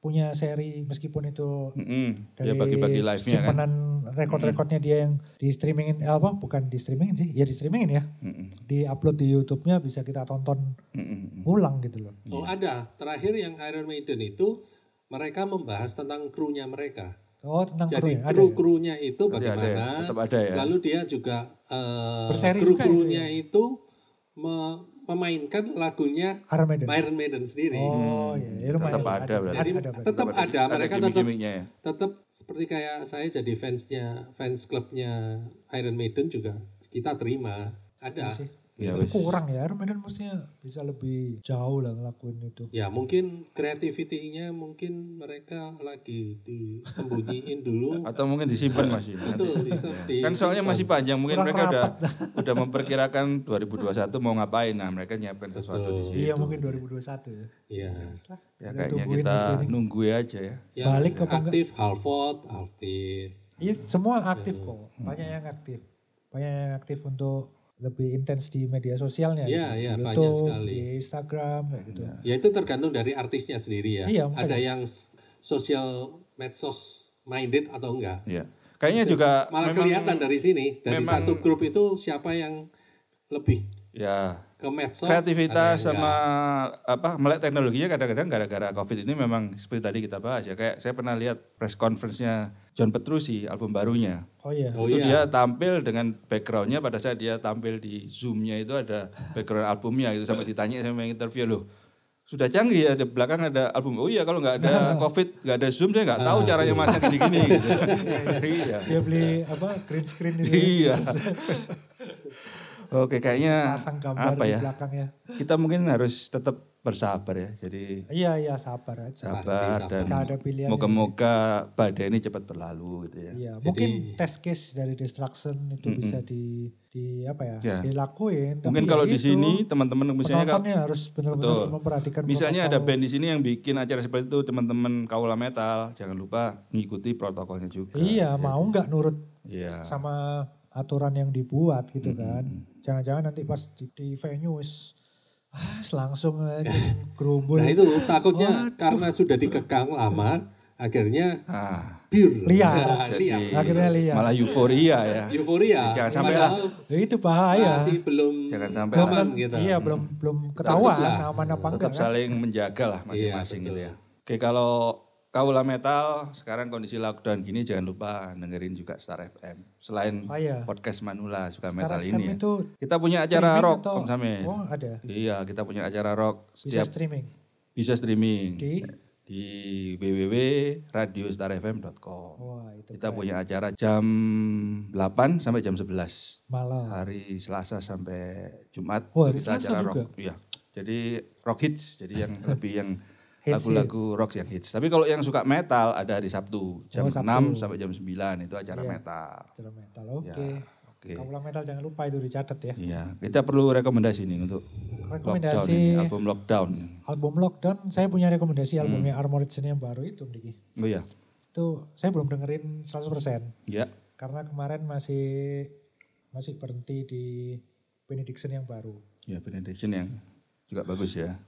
punya seri meskipun itu dari Mm-mm. dia Hmm. Iya, bagi-bagi live-nya kan Hmm. simpanan rekod-rekodnya dia yang di streamingin eh, apa bukan di streamingin sih ya di streamingin ya Mm-mm. di upload di YouTube-nya bisa kita tonton Hmm. Mm-mm. ulang gitu loh Oh, ada. Terakhir yang Iron Maiden itu mereka membahas tentang krunya mereka. oh tentang kru Jadi ya, ada ya? kru-krunya itu Tapi ada ya, bagaimana? tetap ada ya Lalu dia juga eh, Berseri kru-krunya ya? itu me- memainkan lagunya Iron Maiden Iron Maiden sendiri. oh ya, ya lumayan Hmm. Tetap ada berarti. ada, Jadi ada, berarti. tetap ada, mereka tetap gimmick-gimmicknya ya tetap seperti kayak saya jadi fansnya fans klubnya Iron Maiden juga kita terima ada Iya sih. Ya, Tapi wis. kurang ya Iron Maiden mestinya bisa lebih jauh lah ngelakuin itu ya mungkin kreativitinya mungkin mereka lagi disembunyiin dulu atau mungkin disimpan masih nanti. betul Iya. bisa di kan soalnya masih panjang mungkin Kurang mereka udah udah memperkirakan 2021 mau ngapain nah mereka nyiapkan sesuatu di situ iya mungkin 2021 ya ya ya Kita kayaknya tungguin kita aja nih. nunggu aja ya Yang Balik ke pengga- aktif Halford aktif Iya semua aktif kok, Hmm. banyak yang aktif, banyak yang aktif untuk lebih intens di media sosialnya. Ya, Iya, gitu. iya, Di banyak YouTube, sekali. Di Instagram kayak gitu. ya itu tergantung dari artisnya sendiri ya Iya, makanya. ada yang s- social medsos minded atau enggak ya kayaknya juga Iya. malah kelihatan dari sini Ya, dari memang- satu grup itu siapa yang lebih ya ke medsos kreativitas ada yang sama apa melek teknologinya kadang-kadang gara-gara covid ini memang seperti tadi kita bahas ya kayak saya pernah lihat press conference-nya John Petrucci album barunya Oh iya. enggak. oh itu iya dia tampil dengan backgroundnya pada saat dia tampil di zoomnya itu ada background albumnya gitu sampai ditanya sama yang interview loh sudah canggih ya di belakang ada album oh iya kalau nggak ada (laughs) covid nggak ada zoom saya nggak tahu Ah, caranya masang gini-gini gitu iya Dia (laughs) beli apa green screen itu, iya oke kayaknya pasang gambar apa di ya belakangnya. kita mungkin harus tetap bersabar ya jadi Iya iya sabar aja. sabar sabar. dan Nggak ada pilihan. moga-moga badai ini cepat berlalu gitu ya Iya, mungkin test case dari destruction itu bisa di di apa ya? Ya. dilakuin. Tapi mungkin ya kalau di gitu, sini teman-teman misalnya kalau penontonnya harus benar-benar Betul. memperhatikan. Misalnya ada protokol. band di sini yang bikin acara seperti itu, teman-teman kaula metal, jangan lupa ngikuti protokolnya juga. Iya, mau nggak nurut Iya. sama aturan yang dibuat gitu kan. Jangan-jangan nanti pas di, di venue wis, ah, langsung aja gerumbul. Nah itu takutnya karena sudah dikekang lama, akhirnya Ah, bir Nah, Liar. liar. jadi Akhirnya lihat. Iya, malah euforia ya. Euforia. Jangan sampai padahal Ya, itu bahaya. Masih belum Jangan sampai Belum- aman gitu. Iya, belum belum ketahuan lah. aman apa enggak Tetap kan. saling menjaga lah masing-masing gitu ya. Oke, kalau kaula metal sekarang kondisi lockdown gini jangan lupa dengerin juga Star FM. Selain Oh, iya. podcast Manula suka Sekarang metal FM ini ya. kan itu Kita punya acara streaming rock, atau- Om Samin. Oh, ada. Iya, kita punya acara rock Bisa setiap Hmm. streaming bisa streaming. di di www.radiostarfm.com. Wah, itu Kita punya acara jam 8 sampai jam 11. malam. Hari Selasa sampai Jumat Wah, Oh, itu hari Selasa juga? rock. Iya. Jadi rock hits, (laughs) jadi yang lebih yang Hits, lagu-lagu rock yang hits. Tapi kalau yang suka metal ada hari Sabtu jam Oh, Sabtu. Iya. 6 sampai jam 9 itu acara metal. Acara metal. Oke. Ya. Oke. Kaulang metal jangan lupa itu dicatat ya. Iya, kita perlu rekomendasi nih untuk lockdown ini, Rekomendasi album lockdown. album Lockdown, saya punya rekomendasi Hmm. albumnya Armored Sin yang baru itu, Diki. Oh iya. Itu saya belum dengerin 100% Ya. karena kemarin masih masih berhenti di Benediction yang baru. Ya, Benediction yang juga bagus ya.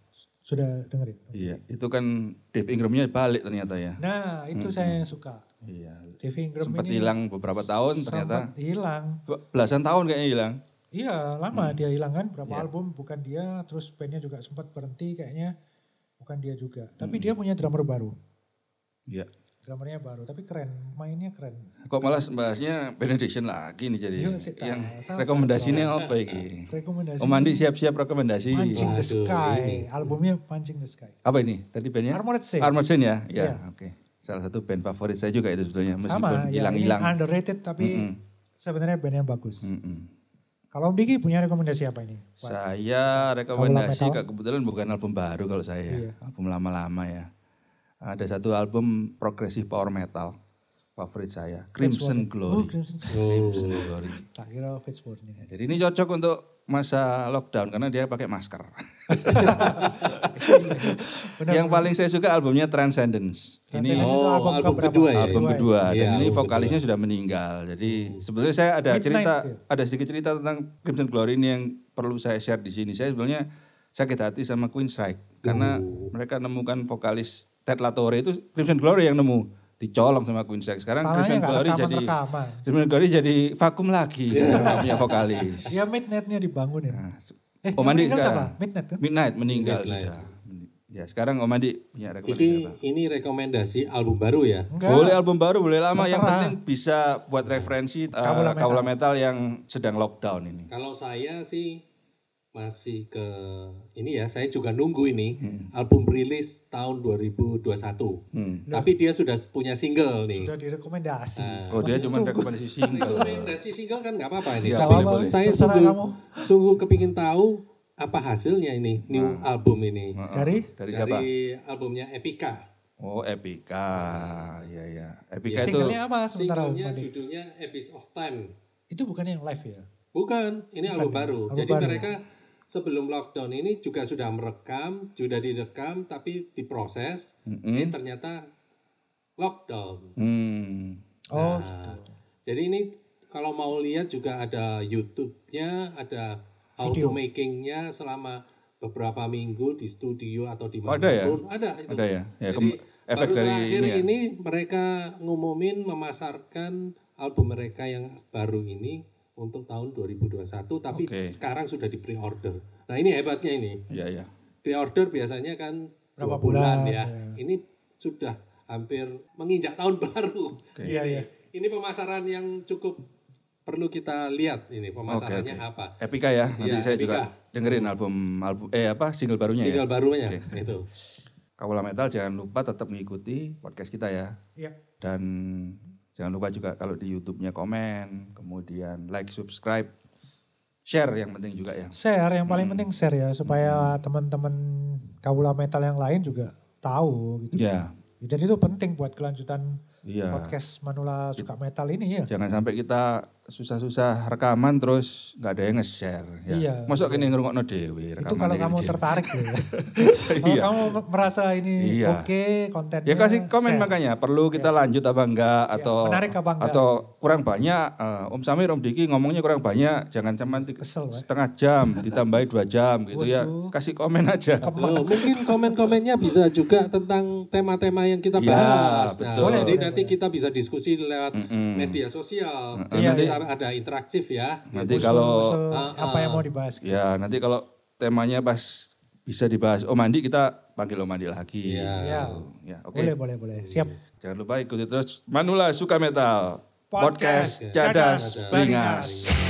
Sudah dengerin? Iya, itu kan Dave Ingramnya balik ternyata ya. Nah, itu saya suka. Iya. Dave Ingram Sempat ini hilang beberapa tahun ternyata. sempat hilang. Belasan tahun kayaknya hilang. Iya, lama dia hilang kan berapa Iya. album bukan dia, terus bandnya juga sempat berhenti kayaknya bukan dia juga. Tapi dia punya drummer baru. Iya. Drummernya baru, tapi keren, mainnya keren. Kok malah bahasnya Benediction lagi nih jadi. Yuk, Sita. yang Sama-sama. rekomendasinya apa iki? Rekomendasi Om Andi siap-siap rekomendasi. Pancing the Waduh, Sky, ini. albumnya Pancing the Sky. Apa ini? Tadi bandnya? Armored Saint. Armored Saint ya? Ya, Iya. oke. Salah satu band favorit saya juga itu sama sebetulnya. Meskipun ya, ini hilang-hilang. Mm. underrated tapi sebenarnya band yang bagus. Mm-mm. Kalau Om Diki punya rekomendasi apa ini? Pak? Saya rekomendasi Kalau lama Kak, kebetulan bukan album baru kalau saya, ya. Iya. album lama-lama ya. Ada satu album progresif power metal favorit saya, Oh, Crimson Glory. Crimson Glory. Crimson Glory. Tak kira Faithborn-nya. Ya, Jadi ini cocok untuk masa lockdown karena dia (laughs) pakai masker. Yang paling saya suka albumnya Transcendence. Transcendence. Ini Itu Oh, album album, keberapa? kedua ya? album Iya, kedua iya, dan ini album vokalisnya sudah meninggal. Jadi sebetulnya saya ada Midnight, cerita ya. ada sedikit cerita tentang Crimson Glory ini yang perlu saya share di sini. Saya sebetulnya sakit hati sama Queen Strike karena Uh. mereka nemukan vokalis Ted Latore itu Crimson Glory yang nemu dicolong sama Queen Strike. Sekarang Salahnya Crimson nggak Glory rekaman jadi rekaman. Crimson Glory jadi vakum lagi Iya. karena nggak punya vokalis. Ya midnight-nya dibangun ya. Nah, Eh, Om yang Andi meninggal sekarang. siapa? Midnight kan? Midnight meninggal Midnight. sudah. Ya sekarang Om Andi punya rekomendasi apa? Ini, ini rekomendasi album baru ya? Enggak. Boleh album baru, boleh lama. Yang Terserah. penting bisa buat referensi uh, Kaula kaula, Metal. metal. yang sedang lockdown ini. Kalau saya sih masih ke ini ya, saya juga nunggu ini album rilis tahun 2021. Hmm. Tapi dia sudah punya single nih. Sudah direkomendasi. Ah. Oh dia cuma rekomendasi (laughs) single. Rekomendasi single kan nggak apa-apa ini. Iya, Tapi boleh, boleh. saya Terserah sungguh kamu. sungguh kepingin tahu apa hasilnya ini new album ini Heeh. Dari? Nah. Dari siapa? dari albumnya Epica. Oh Epica, ya ya. Epica itu Singlenya apa sementara Om Iya. Singlenya Andi? judulnya Abyss of Time. Itu bukan yang live ya? Bukan, ini album baru. album Jadi baru. mereka sebelum lockdown ini juga sudah merekam, sudah direkam tapi diproses. Ini ternyata lockdown. hmm, Oh, Nah, jadi ini kalau mau lihat juga ada YouTube-nya, ada how to making-nya selama beberapa minggu di studio atau di Oh, mana ada ya? pun ada itu. ada ya. Ya Jadi kem- efek baru dari terakhir ini. ini, Ya. mereka ngumumin memasarkan album mereka yang baru ini untuk tahun 2021 tapi Oke. sekarang sudah di pre-order. Nah, ini hebatnya ini. Ya ya. Pre-order biasanya kan Berapa dua bulan, bulan, ya. Ini sudah hampir menginjak tahun (laughs) baru. iya iya. Ini pemasaran yang cukup perlu kita lihat ini pemasarannya oke. apa. Epica ya. Nanti Iya, saya Epica. juga dengerin album album eh apa single barunya Single ya. barunya itu. Kaula Metal jangan lupa tetap mengikuti podcast kita ya. Iya. dan jangan lupa juga kalau di YouTube-nya komen, kemudian like, subscribe, share yang penting juga ya. Share yang paling penting share ya supaya Hmm. teman-teman kaula metal yang lain juga tahu gitu. Ya, Dan itu penting buat kelanjutan iya. podcast Manula suka metal ini ya. Jangan sampai kita susah-susah rekaman terus nggak ada yang nge-share. Ya. Iya. Masuk ini ngerungokno dewe itu kalau kamu tertarik ya. (laughs) kalau Iya. kamu merasa ini Iya. oke kontennya. Ya kasih komen share. Iya. makanya perlu kita lanjut apa enggak atau menarik apa enggak. atau kurang banyak eh, Om Samir Om Diki ngomongnya kurang banyak jangan cuma tiga- Kesel, Pak. setengah jam ditambahi dua jam gitu ya Waduh. kasih komen aja. Loh, mungkin komen-komennya bisa juga tentang tema-tema yang kita Ya, bahas. betul. Nah, jadi nanti kita bisa diskusi lewat media sosial. Jadi Iya, Ya, kita ada interaktif ya. Nanti Usul- kalau usul apa yang mau dibahas? Ya nanti kalau temanya pas bisa dibahas Om Andi kita panggil Om Andi lagi. Iya. Ya. Ya, oke. Boleh boleh boleh. Siap. Jangan lupa ikuti terus Manula Suka Metal Podcast Podcast, Cadas Cadas Beringas. Beringas.